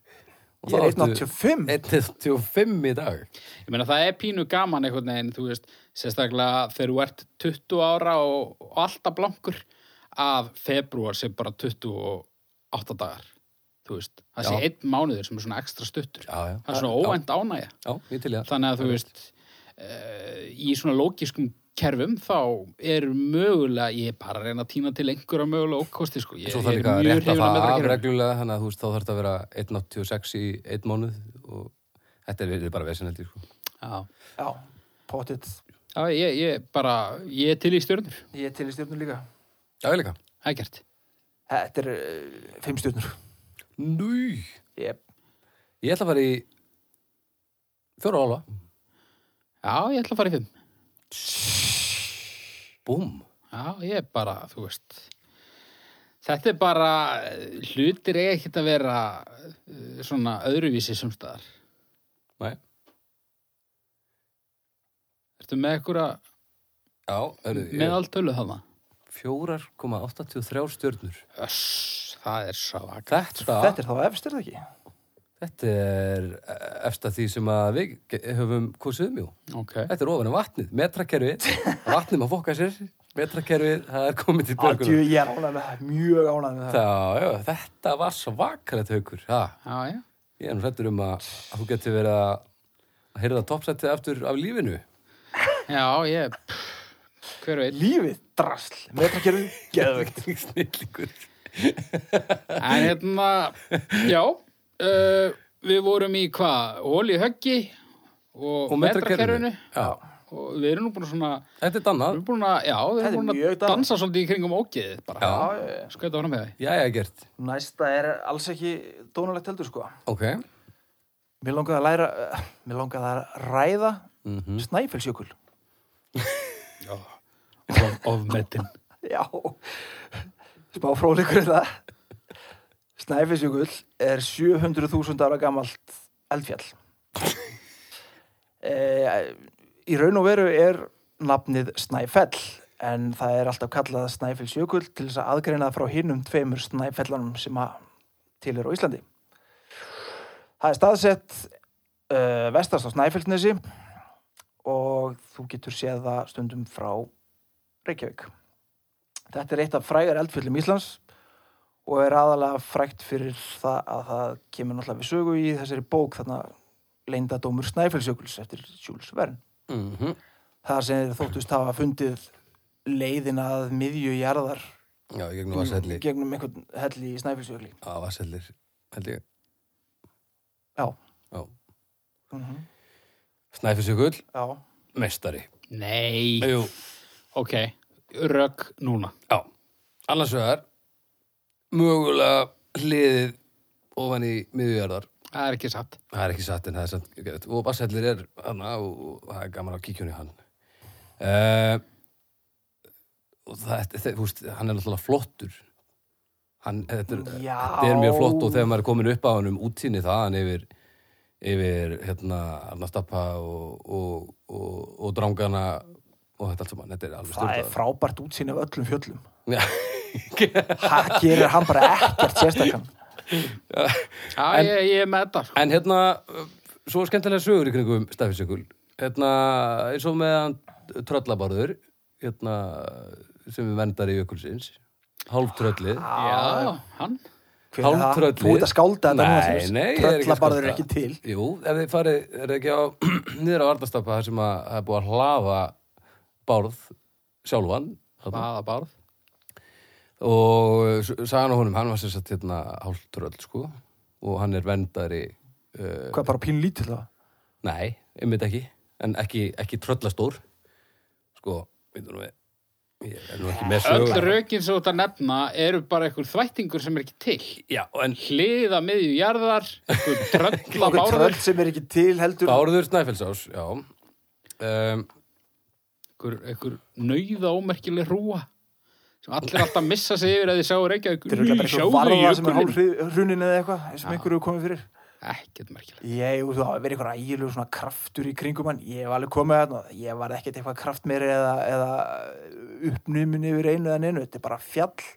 Og Ég þá er ertu 1,85 1,85 í dag Ég meina, það er pínu gaman einhvern veginn, þú veist, sérstaklega þegar þú ert 20 ára og, og alltaf blankur að februar sé bara 28 dagar. Þú veist, það sé Já. einn mánuður sem er svona ekstra stuttur. Já, já. Það er svona óvænt ánægja. Já, ég til í það þannig að þú veist uh, í svona lókiskum kerfum þá er mögulega ég er bara að reyna að týna til einhverja mögulega ókosti sko, ég, Svo ég þarf er líka að mjög rétta hrifin að það metra af kerfum reglulega þannig að þú veist, þá þarf þetta að vera 1,86 í einn mánuð og þetta er verið bara vesinaldi sko. já, Já, pottitt já ég, ég bara ég er til í stjörnur, Ég er til í stjórnum líka Já, ég líka ekkert Þetta er uh, 5 stjórnur Núj yep. Ég ætla að fara í fjóra álfa já, ég ætla að fara í fimm Búm já, ég er bara, þú veist þetta er bara hlutir eiga ekkert að vera eh, svona öðruvísi sumstaðar Nei. ertu með einhverja Já, hörðu, ég- meðaltölu þarna 4,83 stjörnur Öss, það er svak Þetta, Þetta er þá efstir það ekki þetta er eftir því sem að við ge- höfum kosið um jú okay. Þetta er ofan af vatnið, metrakerfið Vatnið maður fokka sér Metrakerfið, það er komið til Adjú, björgunar ég er ánægð með það, mjög ánægð með það Það, já, Þetta var svakalegt haukur ha, Já, já. Ég er nú hrættur um að, að þú getur verið að að heyrða toppsættið aftur af lífinu Já, ég, hver veit. Lífið, drasl, metrakerfið, geðvegt Snillingur En hérna, já, uh, við vorum í hvað, hóli höggi og, Og metrakerfinu metrakerfinu Já, og við erum nú búin að svona, Þetta er dannað við erum búin að, já, við Þetta er erum búin að mjög dana. dansa svolítið í kringum ógeðið bara. Já. Já, já, já. Skauta fram með það. Jæja gert Næsta er alls ekki dónalegt heldur sko Ok Mér langaði að læra, eh, mér langaði að ræða mm Snæfellsjökul Já, of, ofmetin. Já, smá fróðleikur er það. Snæfisjökull er 700.000 ára gamalt eldfjall. E, í raun og veru er nafnið Snæfell en það er alltaf kallað Snæfellsjökull til þess að aðgreina það frá hinnum tveimur Snæfellanum sem að til er á Íslandi. Það er staðsett uh, vestast á Snæfellsnesi og þú getur séð það stundum frá Reykjavík. Þetta er eitt af frægar eldfjöllum Íslands og er aðalega frægt fyrir það að það kemur náttúrulega við sögu í þessari bók þarna leyndadómur Snæfellsjökuls eftir Jules Verne. -hmm. Það sem þeir þóttust hafa fundið leiðina að miðju jarðar Já, í gegnum vasselli gegnum einhvern helli í Snæfellsjökli. Já, vassellir Held ég Já. Já Mm Snæfisjökull, Já. mestari Nei, Jú, ok, rögg núna. já Annars vegar Mögulega hliðið ofan í miðjarðar Það er ekki satt. Það er ekki satt en það er samt gett. Og Bassellir er hana og og það er gaman að kíkja hún í hann uh, Og það, það, húst, hann er náttúrulega flottur hann, þetta, er, Já. þetta er mjög flott og þegar maður er komin upp á hann um útsýni þaðan yfir yfir hérna Arnastappa og, og, og, og drangana og þetta allt saman, þetta er alveg Það er frábært útsýn af öllum fjöllum. stjórnað Það gerir hann bara ekkert sérstakann. Já, ég, ég er með þetta. sko. En hérna, uh, svo skemmtilega sögur í kringum Stafisjökul. Hérna, eins og meðan tröllabarður, hérna, sem er verndari jökulsins. hálftröllið Já, hann. Hver er það? Hálftröllið. Þú ert að skálda þetta núna, Nei, Thomas. nei, ég er ekki að Tröllabarður er skálda. ekki til Jú, ef þið farið, er ekki á niður á Arnastapa þar sem að það er búið að hlafa bárð sjálfan þarna. Hvaða bárð? og s- sagan á honum, hann var sér satt hérna hálftröll sko og hann er vendari uh, Hvað, bara pínu lítill það? nei, einmitt ekki en ekki, ekki tröllastór sko, veitum nú við ég er nú ekki með Öll sögur rökin sem þú ert að nefna eru bara einhver þvættingur sem er ekki til. Já, en Hliða miðju jarðar, einhver trölla Okkur bárður, tröll sem er ekki til heldur Bárður Snæfellsás, já um, einhver, einhver nauða ómerkileg rúa sem allir alltaf missa sig yfir að þið sáu reykja Þetta er örugglega bara eitthvað sjáðu varða sem er jökulinn. hálf hrunin eða eitthvað eins og einhverju komið fyrir Ekkert merkileg. Ég, og þú það verið eitthvað ægilegu svona kraftur í kringum hann Ég var alveg komið þarna og Ég var ekkert eitthvað kraft meiri eða, eða uppnumin yfir einu eða neinu Þetta er bara fjall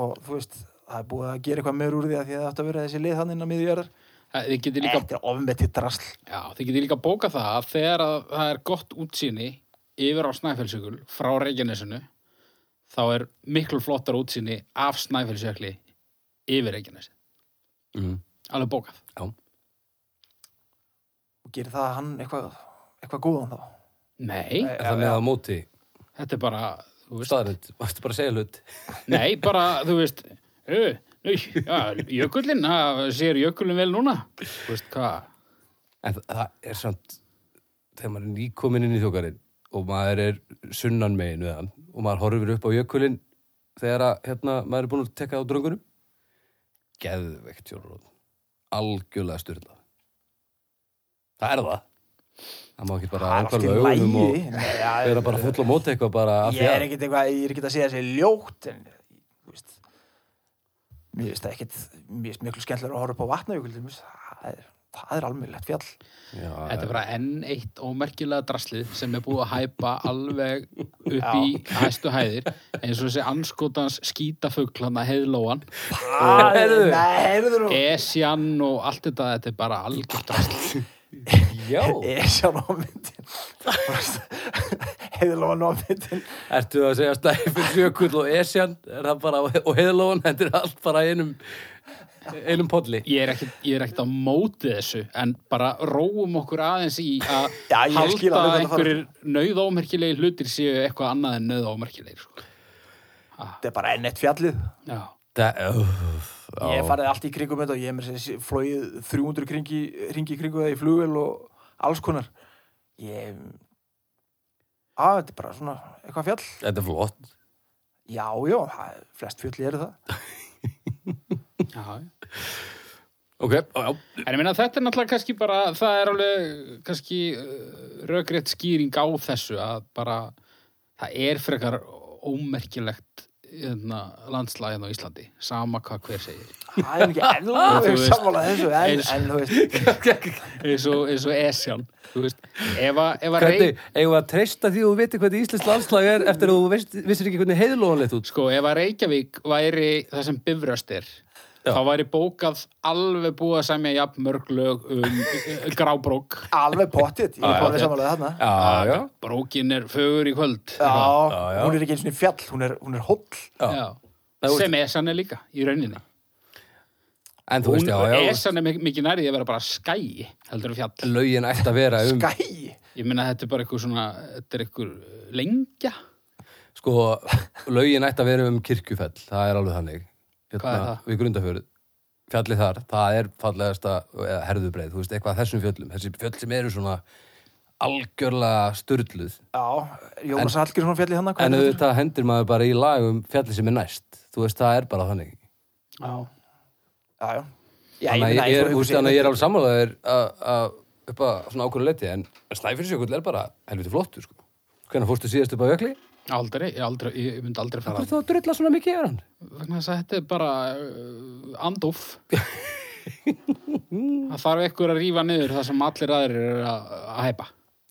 og þú veist, það er búið að gera eitthvað meir úr því að því að það átt að vera þessi leið hann inn á miðjörðar Það- Þið getur líka Þetta er ofmetið drasl Já, þið getur líka bókað það að þegar að það er gott útsýni yfir á Snæfellsjökul frá Reykjanesinu þá er miklu flottar útsýni af Snæfellsjökli yfir Reykjanesi. mm, Alveg bókað. og gerir það hann eitthvað, eitthvað góðan þá Nei, Nei. er það með á móti þetta er bara, þú veist, staðrætt, varstu bara að segja hlut nei, bara, þú veist, ö, nú, já, jökullin, það sér jökullin vel núna. Þú veist hvað, en það, það er samt þegar maður er nýkominn inn í þjókarinn og maður er sunnan megin við hann og maður horfir upp á jökulinn þegar að, hérna, maður er búin að tekka á dröngunum geðveikt sjólaróð algjörlega styrla það er það það má ekki bara Það er allt í angarlega augunum lagi. og Nei, já, vera bara full á móti eitthvað bara af því Ég er að ekkit eitthvað, ég er ekkit að segja þessi ljótt en, þú veist mér veist það ekkit, mér veist miklu skemmtilega að horfa upp á vatnajökuldum það er, það er almennilegt fjall Já, þetta er bara enn eitt ómerkilega draslið sem er búið að hæpa alveg upp í hæstu hæðir eins og þessi anskotans skítafuglana heiðlóan Það er, Heyrðu. Eh, nei, heyrðu nú Esjan og allt þetta, þetta er bara algjört drasl. já, Esjan á myndin heiðlóan á myndin ertu að segja stæfið sjökull og esjan er það bara, og heiðlóan, þetta er allt bara í einum einum podli Ég er ekkert, ég er ekkert á móti þessu, en bara róum okkur aðeins í að Já, ég halda skil alveg hvað þú einhverjir nauðómerkilegi hlutir séu eitthvað annað en nauðómerkilegi. Sko. Ah, þetta er bara ennett fjallið Já, Það, öff, já. ég hef farið allt í kringum þetta og ég hef mér sér flóið 300 kringi, ringi í kringum það í flugvel og alls konar ég að þetta er bara svona eitthvað fjall Þetta er flott. já, já, það- flest fjalli eru það já. já. Ok, já, já. En ég meina þetta er náttúrulega kannski bara, það er alveg kannski uh, rökrétt skýring á þessu að bara það er frekar ómerkilegt hérna, landslæðin á Íslandi, sama hvað hver segir. það er nú ekki Þú ennlega veist. sammála þessu en, Eins. en þú veist, eins og, eins og Esjan þú veist, ef að, ef að Hvernig, reyk, eigum við að treysta því að þú veitir hvernig Íslands landslag er eftir að þú veist, vissir ekki hvernig heiðlóðan leitt út? sko, ef að Reykjavík væri það sem bifröst er Já. þá væri bókað alveg búið að semja jafn mörg lög um grábrók alveg pottitt ég Já, er já, bara ok. sammála þarna Já, já, brókin er fögur í kvöld já, já. hún er ekki eins og fjall hún er, hún er hóll já. Það er- sem Esjan er líka í rauninni En þú Hún, veist, já, já, Esjan er mik- mikið nærið að vera bara skæi heldur en fjall lögin ætti að vera um, skæ ég meina þetta er bara eitthvað svona þetta er eitthvað lengja sko, lögin ætti að vera um kirkjufell, það er alveg þannig. Hérna, Hvað er það? Við grundafjörð, fjallið þar, það er fallegasta, eða herðubreið, þú veist, eitthvað af þessum fjöllum, þessi fjöll sem eru svona algjörlega sturluð. já, Jónas Hallgrímsson fjalli hann En auðvitað hendir maður bara í lag um fjallið sem er næst, þú veist, það er bara þannig. já, já, já Já, Þannig meina, að ég er, eins og þú þú veist, segir, þannig að ég er alveg sammálaður að- að upp að svona ákvörðu leti en Snæfyrsjökull er bara helviti flottur sko. Hvernig fórstu síðast upp að jökli? aldrei, ég, aldrei, ég myndi aldrei Hvað fara er það að drulla svona mikið yfir hann? vegna þess að þetta er bara uh, andóf það þarf ekkur að rífa niður það sem allir aðrir eru að, að hæpa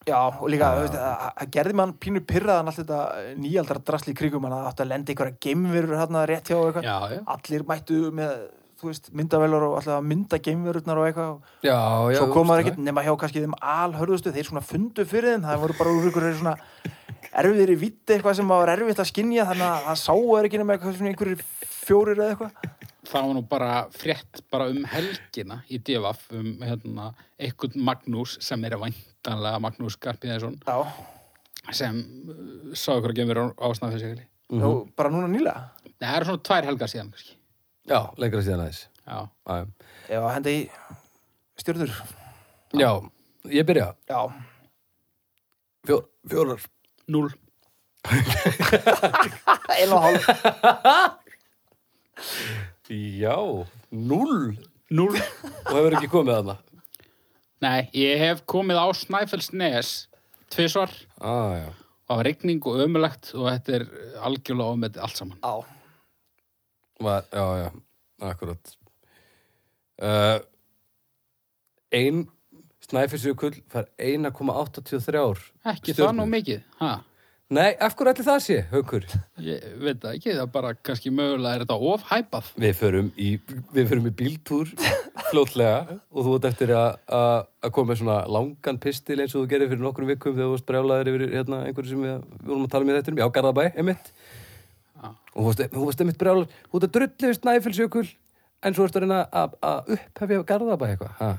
Já, og líka, þú veist, að- að gerði mann pínu pyrraðan allt þetta nýjaldra drasli í krigum, hann átti að lenda einhverja geimverur hérna rétt hjá og eitthvað. já, já. Allir mættu með, þú veist, myndavelar og alltaf að mynda geimverurnar og eitthvað. Já, já. Svo kom maður ekkert nema hjá kannski þeim alhörðustu, þeir svona fundu fyrir þeim, það voru bara úr ykkur svona erfiðir í vitt eitthvað sem var erfitt að skinja þannig að það sáu er ekki nema eitthvað svona einhverjir fjórir eða eitthvað það var nú bara frétt bara um helgina í divaf um hérna, einhvern Magnús sem er væntanlega Magnús Garpiðarsson Já, sem uh, sá ykkur að gemur á snafisegli. mm bara núna nýlega Nei, það eru svona tvær helgar síðan, kannski. Já, lengra síðan aðeins. Já, Já, Já, henda í stjörður já ég byrja. Já, Fjó, fjórar. núl. einu og hálf Já, null. Núl. Og hefur ekki komið þarna. Nei, ég hef komið á Snæfellsnes tvisvar Ah, já. og það var rigning og ömulegt og þetta er algjörlega ofmetið allt saman. Já, Var, já, já, akkurat. Uh, ein snæfisjökull fær 1,83 Ekki það Stjörnur. nú mikið, ha? Nei, af hverju ætli það sé, haukur? Ég veit það ekki, það er bara kannski mögulega er þetta ofhæpað. Við förum í, við förum í bíltúr fljótlega og þú ert eftir að- að að koma með svona langan pistil eins og þú gerir fyrir nokkrum vikum þegar þú varst brjálaður yfir hérna, einhverju sem við, við vorum að tala um í þettunum, já, Garðabæ, einmitt. Já. Og þú varst, þú varst einmitt brjálaður, þú ert að drullu snæfilsjökull en svo ertu að reyna að- að upphefja Garðabæ eitthvað. Ha?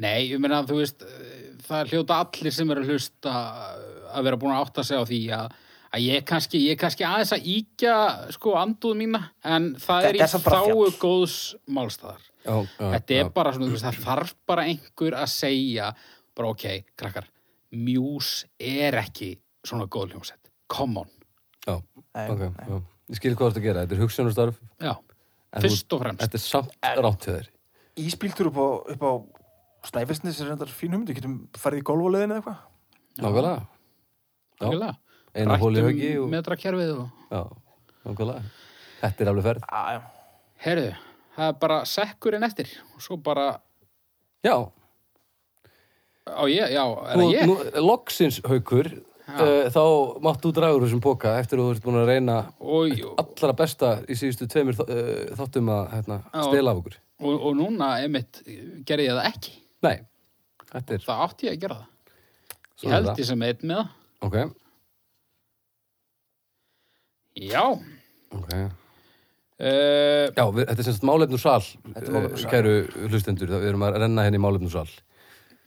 Nei, ég meina þú veist, eh, það hljóta allir sem eru að hlusta að vera búin að átta sig á því að, að ég, kannski, ég kannski aðeins að íkja sko andúð mína en það Þetta er er í samt bara þáu fjall. góðs málstæðar. Já, já, Þetta er já. bara svona, þú veist, það þarf bara einhver að segja, bara ok, krakkar, Muse er ekki svona góð hljómsett. Come on. Já, Nei, ok, nei. já. Ég skil hvað þú ert að gera, þetta er hugsunastarf Já, En fyrst og fremst. Þetta er samt rátt til þér ísbíltur upp á, upp á Snæfellsnes er þetta fín humdi, getum farið í golfulegðin eða eitthvað Nákvæmlega Já, Algjörlega. einu hóli höggi Rættum og, metrakerfið og... Já, nákvæmlega Þetta er alveg ferð Já, já Herðu, það er bara sekkurinn eftir og svo bara, Já, á ég, já, er nú, það ég? nú, loksins haukur uh, Þá máttu draga úr þessum póka eftir að þú ert búin að reyna og, og, allra besta í síðustu tveimur þ- uh, þáttum að hérna, Já. stela af okkur og, og núna, einmitt, gerði ég það ekki. Nei, þetta er Það átti ég að gera það. Ég Svona er held það. ég sem einn með það. Ok, Já, ok uh, Já, við, þetta er semst málefnúsal, Þetta er málefnúsal. eh, kæru hlustendur, það- við erum að renna henni í málefnúsal.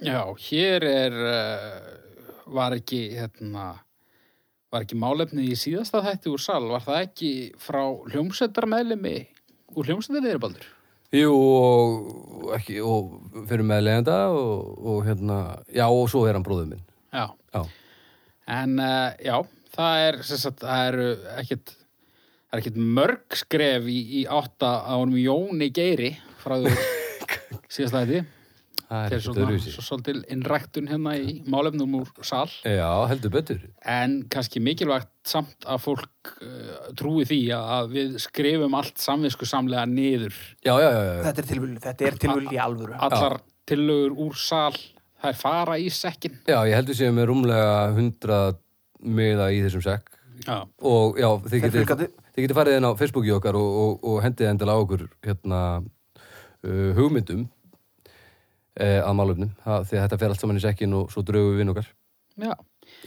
já, hér er, uh, var ekki, hérna, var ekki málefnið í síðasta þætti úr sal, var það ekki frá hljómsveitarmeðlimi úr hljómsveitarmeðlimi, Baldur? Jú, og ekki, og fyrir með leiðenda og, og hérna, já, og svo er hann bróður minn. Já. Já, En uh, já, það er sem sagt, það eru ekkit það er ekkit mörg skref í, í átta á honum Jóni Geiri frá því síðast læti það er Þeir ekkert svona öðruvísi. svo svolítil innræktun hérna í málefnum úr sal Já, heldur betur. en kannski mikilvægt samt að fólk uh, trúi því að- að við skrifum allt samvisku samlega niður Já, já, já, já. Þetta er tilvölu, þetta er tilvölu í alvöru allar tillögur úr sal það er fara í sekkin Já, ég heldur séum með rúmlega hundra miða í þessum sekk. Já, Og já, þið Þeir getið fylgandi. þið getið farið inn á Facebooki okkar og, og, og hendið endilega á okkur hérna uh, hugmyndum eh, að málöfnum. Það, því að þetta fer allt saman í sekkin og svo draugum við vinn okkar. já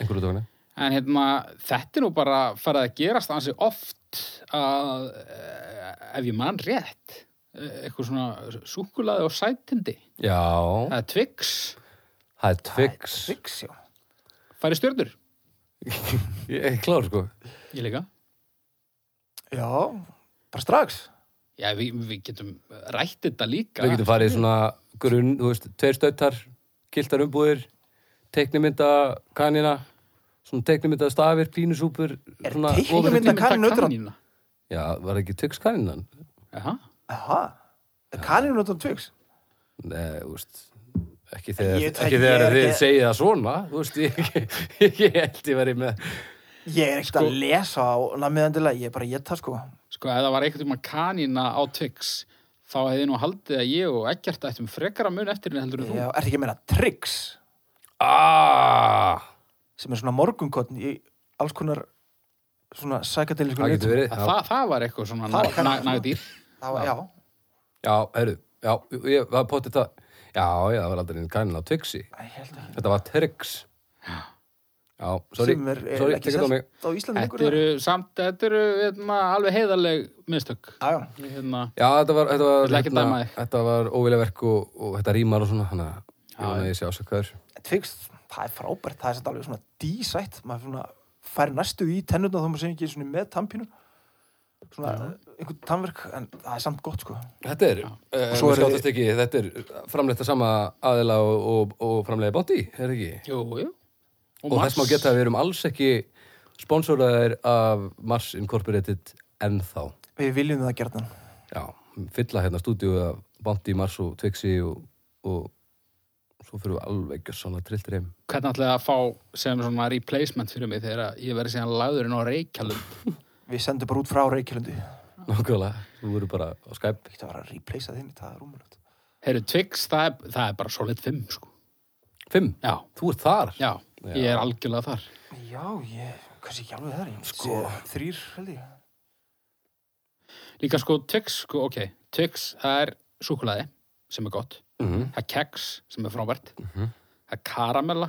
Einhverju dagana. En hérna, þetta er nú bara farið að gerast ansi oft að, eh, ef ég man rétt, eh, eitthvað svona súkulaði og sætindi. Já, Það er Twix, það er Twix. Six, já farið stjörnur. Ég er klár, sko. Ég líka. Já, bara strax Já, við, við getum rætt þetta líka. Við getum farið í svona grunn, þú veist, tveir stöttar, kiltar umbúðir, teiknimynda kanina, svona teiknimynda stafir, pínusúpur, Er svona... teiknimynd- ofurhull. mynda kaninu utan á- kanína. Já, var ekki Twix kaninan? Jaha. Aha, kaninu notan tvöks Nei, þú veist, ekki þegar, Ég- ekki ég þegar er þið ekki- segið það svona, þú veist, ég, ég, ég held ég verið með... Ég er ekkert Sko- að lesa á namiðandilega, ég er bara að geta sko Sko, ef það var eitthvað um að kanína á Twix, þá hefði nú haldið að ég og ekkert ættum frekara mun eftir henni heldur en þú. Já, ertu ekki að meina tricks Ah, sem er svona morgunkotn í alls konar svona sækadelisku það getur verið. Að Já, Það, það var eitthvað svona Það var nag- nag- kanína. nagdýr. var, já, já herru, já, ég var potið það. Já, já, það var aldrei kanina á Twixi. Æ, ég held ekki Þetta var Trix. Já, sorry, sem er, er sorry, ekki tekið á mig. selt á Íslandi Þetta eru samt, þetta eru hérna, alveg heiðarleg mistök. Já, já. Hérna, Já, þetta var, þetta var, hérna- Ég ætla ekki að dæma þig. þetta var óvilja verk og, og þetta rímar og svona, þannig að ég vona að ég sé ásakaður. Þetta fyrst, það er frábært, það er satt alveg svona dísætt, maður svona fær næstu í tennurna þá maður segir ekki svona með tampinu svona einhvern tannverk en það er samt gott sko Þetta er, uh, svo svo er- skjáttast ekki, þetta er framleitt að sama aðila og, og, og framleiði bótti, er það ekki? jú, jú. Og, þess má Mars. geta að við erum alls ekki sponsoraðir af Mars Incorporated ennþá. við viljum það gerðan Já, fylla hérna stúdíu af bótti, Mars og Twixi og, og svo fyrir við alveg ekki svona trillt reym. Hvernig ætlaði að fá sem svona replacement fyrir mig þegar að ég verði síðan lagðurinn á Reykjalund? við sendum bara út frá Reykjalundi Nákvæmlega, þú verður bara á Skype. ekki að vera að replacea þinn, það er rúmulegt Herru, Twix, það er, það er bara solid 5, sko. Fimm, Já, þú ert þar. já, ég er algjörlega þar. já, ég, kannski ekki alveg það ég Sko. sé þrýr held ég Líka sko Twix, sko, ok, Twix, það er súkulaði sem er gott, Mhm, það er keks sem er frábært, mhm, það er karamella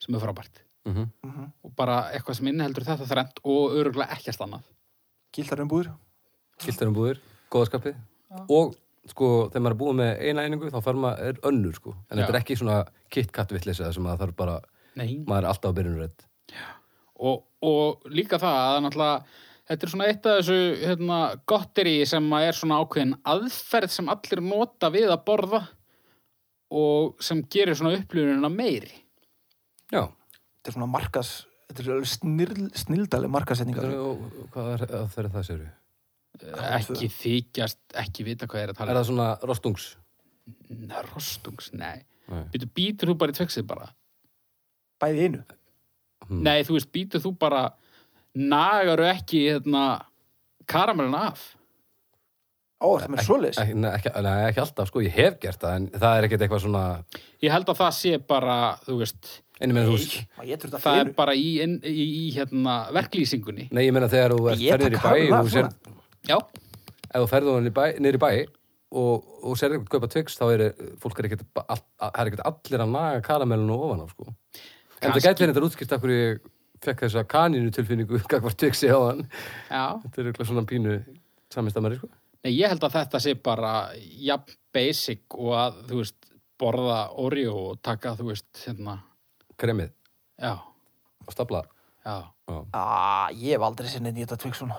sem er frábært mhm. Mhm. og bara eitthvað sem inniheldur þetta þrennt og öruglega ekkert annað. gildar umbúður Kiltarumbúðir, góðaskapið og sko þegar maður er búið með eina einingu þá fær maður er önnur sko en Já. þetta er ekki svona KitKat vitleysa sem að það er bara, Nei. maður er alltaf á byrjunrödd og, og líka það að náttúrulega þetta er svona eitt af þessu hérna, gotteri sem að er svona ákveðin aðferð sem allir nota við að borða og sem gerir svona upplifunina meiri Já, þetta er svona markas, þetta er snirl, snildaleg markasetningar Getur- og- og hvað er að þeirra það séru? ekki þykjast, ekki vita hvað er að Er tala það svona rostungs? um Nei, rostungs, nei Nei. Býtu, býtur þú bara í tvexið bara bæði í einu Mm. nei, þú veist, býtur þú bara nagaru ekki hérna, karamellin af ó, það með svoleiðis Ekki, nei, ekki, nei, ekki alltaf sko, ég hef gert það en það er ekkert eitthvað svona ég held að það sé bara, þú veist en ég meina þú veist maður getur þetta það fyrir er einu bara í, inn, í, í hérna, verklýsingunni Nei, ég meina þegar þú Ég ferðir í taka bæ og hana, þú svona. sér- já, ef þú ferður hann í bæ, niður í bæ og, og sér eitthvað kaupa tvix þá er fólk er ekkert, ba- all, það er ekkert allir að naga karamellinu ofan á sko. en það Kannski. gæti þetta útskýrt af hverju ég fekk þessa kaninu tilfinningu gagvart tvixi á hann já þetta er eitthvað svona pínu samistamari sko. Nei, ég held að þetta sé bara jafn basic og að, þú veist, borða Oreo og taka, þú veist, hérna, kremið já, og stapla já. Já. Á, Ah, ég hef aldrei sinni nýta tvik svona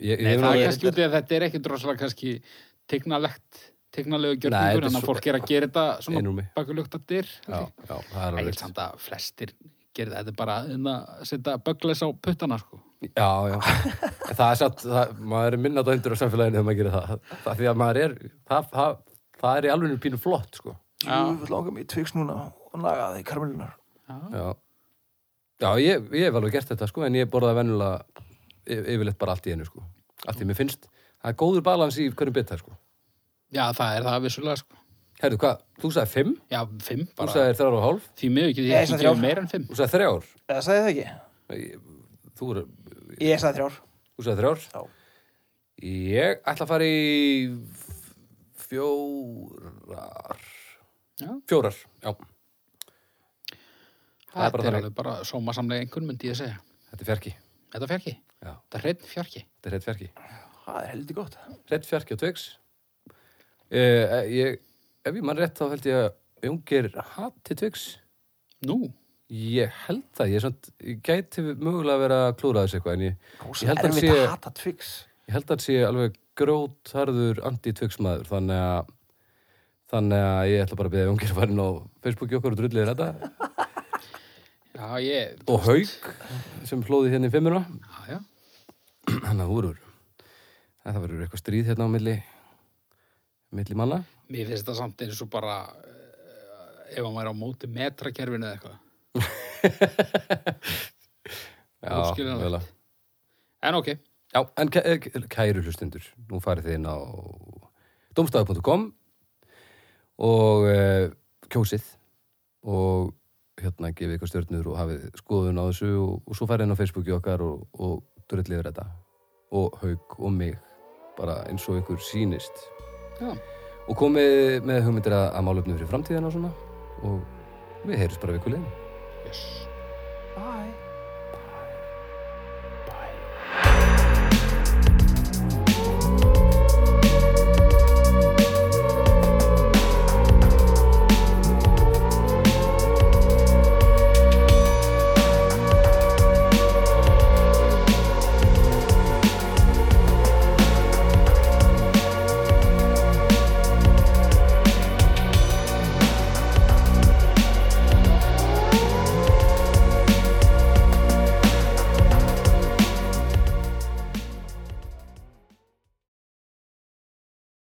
ég, ég, Nei, það er alveg- kannski út í að þetta er ekki droslega kannski tegnalegt, tegnalegu Nei, þetta er gjörningur, en að svo- fólk er að gera þetta Einrúmi. svona bakulugta dyr. já, já, það er Ég alveg held samt að flestir gerða þetta bara en að setja bögles á puttana, sko. já, já En það er satt, það, maður er minna döndur á samfélaginu þegar maður gerir það, það því að maður er það, það, það er í alveg pínu flott sko. Já. Jú, langar mig tviks núna og naga þig karmelunar. Já, já ég, ég hef alveg gert þetta sko, en ég borðaði venjulega yf- yfirleitt bara allt í einu sko. Allt í mér finnst, það er góður balans í hverjum bita sko. Já, það er það vissulega, sko. Herðu, hvað, þú sagði fimm, Já, fimm þú bara. sagði þrjár og hálf, Því miður ekki, Nei, ég svona ekki þrjár. meira en fimm. þú sagði þrjár, Eða sagði það ekki? Ég- þú, er- Ég sagði þrjár. þú sagði þrjár. Já. Ég ætla að fara í f- fjórar, Já. fjórar, já. Það er bara Þetta er þannig. alveg bara sómasamlega einhvern myndi ég að segja. Þetta er fjarki, Þetta fer ekki. já, Þetta er hreinn fjarki. þetta er rétt fjarki. Það er heldur gott. Rett fjarki og tveiks eh, ég, Ef ég mann rétt þá held ég að Jóngir hati tveiks Nú, Ég held það, ég, er samt, ég gæti mögulega að vera að klúra þessu eitthvað en ég, Rósa, ég held er að við sé, að hata tviks. ég held að sé alveg grótharður anti-tveiksmaður þannig að þannig að ég ætla bara að beða Jóngir að fara inn á Facebooki okkur og drullið þetta já ég, og Hauk sem flóði hérna í fimmuna já, já. þannig að úrur það verður eitthvað stríð hérna á milli milli manna Mér finnst það samt eins og bara eh, ef hann væri á móti metrakerfinu eða eitthvað. Óskiljanlegt. mögulega. En ok, Já, en kæ- eh, kæru hlustendur, nú farið þið inn á domstafi.com og uh, kjósið og hérna gefið ykkur stjörnur og hafið skoðun á þessu og, og svo farið inn á Facebooki okkar og, og drullið yfir þetta og haug og mig bara eins og ykkur sýnist já, og komið með hugmyndir að, að málefni fyrir framtíðina og svona og við heyrjum bara vikulegin yes. Bye